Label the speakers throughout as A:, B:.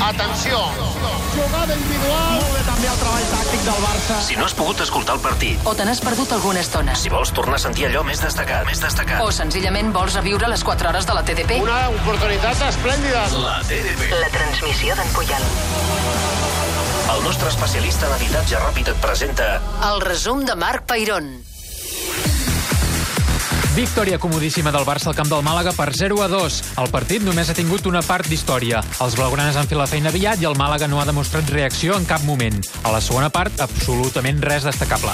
A: Atenció!
B: Jugada individual. Molt bé també el treball tàctic del Barça.
C: Si no has pogut escoltar el partit,
D: o te n'has perdut alguna estona,
C: si vols tornar a sentir allò més destacat, més destacat,
D: o senzillament vols reviure les 4 hores de la TDP,
A: Una oportunitat esplèndida.
C: la TDP.
D: la transmissió d'en Puyal.
C: El nostre especialista en habitatge ràpid et presenta
D: El resum de Marc Peirón.
E: Victòria comodíssima del Barça al camp del Màlaga per 0 a 2. El partit només ha tingut una part d'història. Els blaugranes han fet la feina aviat i el Màlaga no ha demostrat reacció en cap moment. A la segona part, absolutament res destacable.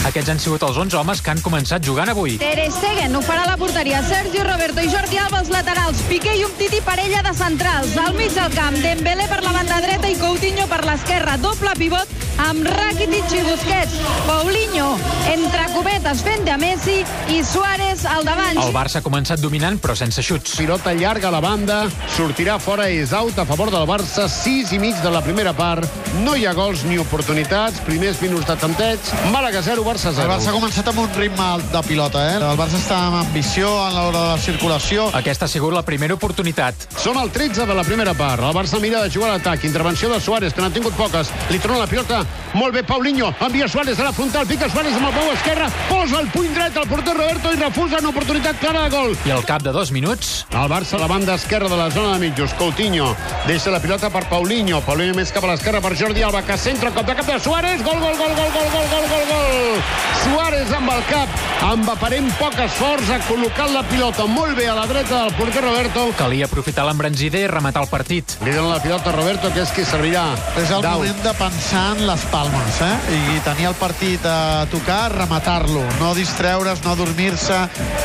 E: Aquests han sigut els 11 homes que han començat jugant avui.
F: Ter Stegen ho farà a la porteria. Sergio Roberto i Jordi Alba als laterals. Piqué i un titi parella de centrals. Al mig del camp, Dembélé per la banda dreta i Coutinho per l'esquerra. Doble pivot amb Rakitic i Busquets. Paulinho entre cubetes fent de Messi i Suárez al davant.
E: El Barça ha començat dominant, però sense xuts.
A: Pilota llarga a la banda, sortirà fora i és out a favor del Barça, 6 i mig de la primera part. No hi ha gols ni oportunitats, primers minuts de tanteig, Màlaga 0, Barça 0.
B: El Barça ha començat amb un ritme alt de pilota, eh? El Barça està amb ambició en l'hora de la circulació.
E: Aquesta ha sigut la primera oportunitat.
A: Són el 13 de la primera part. El Barça mira de jugar a l'atac. Intervenció de Suárez, que n'ha tingut poques. Li torna la pilota. Molt bé, Paulinho. Envia Suárez a la frontal. Pica Suárez amb el peu esquerre. Posa el puny dret al porter Roberto i refusa una oportunitat clara de gol.
E: I al cap de dos minuts,
A: El Barça a la banda esquerra de la zona de mitjos. Coutinho deixa la pilota per Paulinho. Paulinho més cap a l'esquerra per Jordi Alba, que centra cop de cap de Suárez. Gol, gol, gol, gol, gol, gol, gol, gol, gol. Suárez amb el cap, amb aparent poc esforç, ha col·locat la pilota molt bé a la dreta del porter Roberto.
E: calia aprofitar l'embranzida i rematar el partit.
A: Li dona la pilota a Roberto, que és qui servirà.
B: És el
A: Dau.
B: moment de pensar en les palmes, eh? I tenir el partit a tocar, rematar-lo. No distreure's, no dormir-se,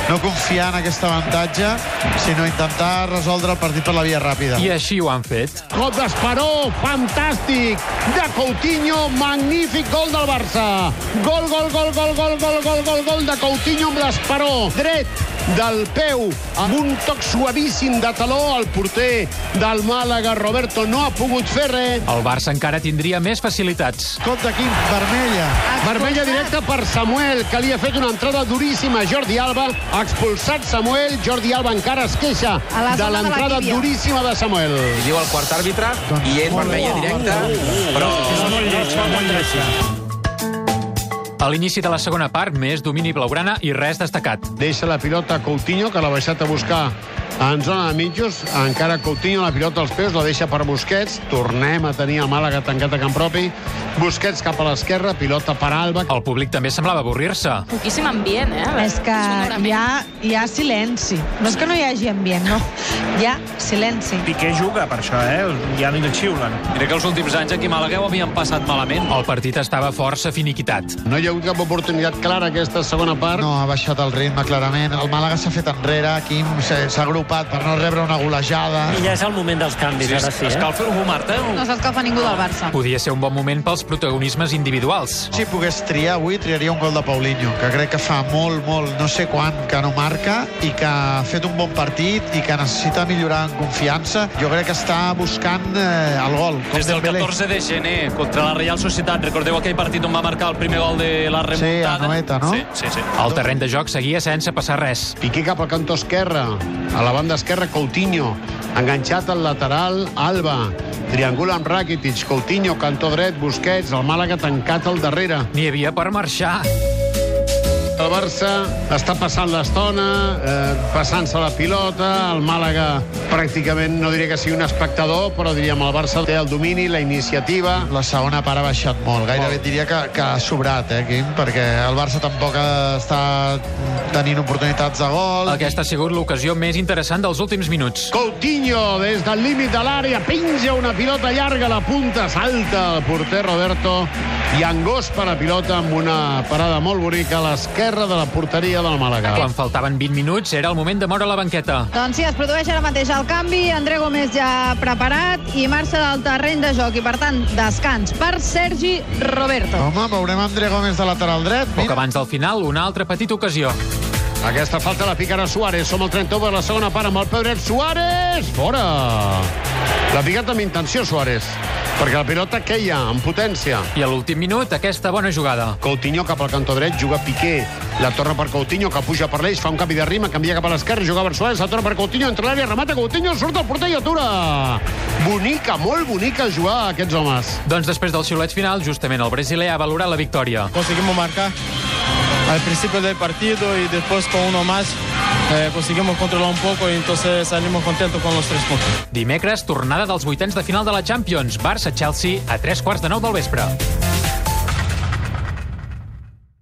B: no confiar en aquest avantatge, sinó intentar resoldre el partit per la via ràpida.
E: I així ho han fet.
A: Cop d'Esperó, fantàstic, de Coutinho, magnífic gol del Barça. Gol, gol, gol, gol, gol, gol, gol, gol, gol de Coutinho amb l'Esperó. Dret del peu, amb un toc suavíssim de taló, el porter del Màlaga, Roberto, no ha pogut fer res.
E: El Barça encara tindria més facilitats.
B: Compte aquí, vermella.
A: Vermella directa per Samuel, que li ha fet una entrada duríssima a Jordi Alba. Ha expulsat Samuel, Jordi Alba encara es queixa
F: A la
A: de
F: zona de la
A: l'entrada
F: tíbia.
A: duríssima de Samuel.
G: diu el quart àrbitre i és vermella directa, però...
E: A l'inici de la segona part, més domini blaugrana i res destacat.
A: Deixa la pilota a Coutinho, que l'ha baixat a buscar en zona de mitjos. Encara Coutinho, la pilota als peus, la deixa per Busquets. Tornem a tenir el Màlaga tancat a camp propi. Busquets cap a l'esquerra, pilota per Alba.
E: El públic també semblava avorrir-se.
H: Poquíssim ambient, eh?
I: És que hi ha, hi ha silenci. No és que no hi hagi ambient, no. Hi ha silenci.
J: Piqué juga per això, eh? Ja no hi xiulen.
G: Mira que els últims anys aquí a Màlaga ho havien passat malament.
E: El partit estava força finiquitat.
A: No hi ha hagut cap oportunitat clara aquesta segona part.
B: No, ha baixat el ritme, clarament. El Màlaga s'ha fet enrere, Quim s'ha s'ha agrupat per no rebre una golejada.
J: I ja és el moment dels canvis,
G: Sí,
J: ara
G: es,
J: sí, eh?
G: escalfa algú, Marta?
F: No s'escalfa ningú del Barça.
E: Podia ser un bon moment pels protagonismes individuals.
B: Si pogués triar avui, triaria un gol de Paulinho, que crec que fa molt, molt, no sé quan, que no marca i que ha fet un bon partit i que necessita millorar en confiança. Jo crec que està buscant eh, el gol. com
G: Des del
B: Dembélé.
G: 14 de gener, contra la Real Societat, recordeu aquell partit on va marcar el primer gol de la remuntada?
B: a Noeta, no?
G: Sí, sí, sí.
E: El terreny de joc seguia sense passar res.
A: Piqué cap al cantó esquerre. A la banda esquerra, Coutinho. Enganxat al lateral, Alba. Triangula amb Rakitic, Coutinho, cantó dret, Busquets, el Màlaga tancat al darrere.
E: N'hi havia per marxar.
A: El Barça està passant l'estona, eh, passant-se la pilota, el Màlaga pràcticament no diria que sigui un espectador, però diríem el Barça té el domini, la iniciativa...
B: La segona part ha baixat molt, gairebé et diria que, que ha sobrat, eh, Quim? Perquè el Barça tampoc ha- està tenint oportunitats de gol.
E: Aquesta ha sigut l'ocasió més interessant dels últims minuts.
A: Coutinho, des del límit de l'àrea, penja una pilota llarga a la punta, salta el porter Roberto i angós per la pilota amb una parada molt bonica a l'esquerra de la porteria del Màlaga.
E: Quan faltaven 20 minuts, era el moment de moure la banqueta.
F: Doncs sí, es produeix ara mateix el canvi, André Gómez ja preparat i marxa del terreny de joc i, per tant, descans per Sergi Roberto.
B: Home, veurem André Gómez de lateral dret.
E: Poc
B: Mira.
E: abans del final, una altra petita ocasió.
A: Aquesta falta la picarà Suárez. Som al 31 de la segona part amb el peu dret. Suárez! Fora! L'ha picat amb intenció, Suárez, perquè la pilota queia amb potència.
E: I a l'últim minut, aquesta bona jugada.
A: Coutinho cap al cantó dret, juga Piqué. La torna per Coutinho, que puja per l'eix, fa un canvi de rima, canvia cap a l'esquerra, juga per Suárez, la torna per Coutinho, entra a l'àrea, remata Coutinho, surt al porter i atura. Bonica, molt bonica jugar a aquests homes.
E: Doncs després del xiulet final, justament el brasiler ha valorat la victòria.
B: Conseguimos marcar al principio del partido y después con uno más eh, conseguimos controlar un poco y entonces salimos contentos con los tres puntos.
E: Dimecres, tornada dels vuitens de final de la Champions. Barça-Chelsea a tres quarts de nou del vespre.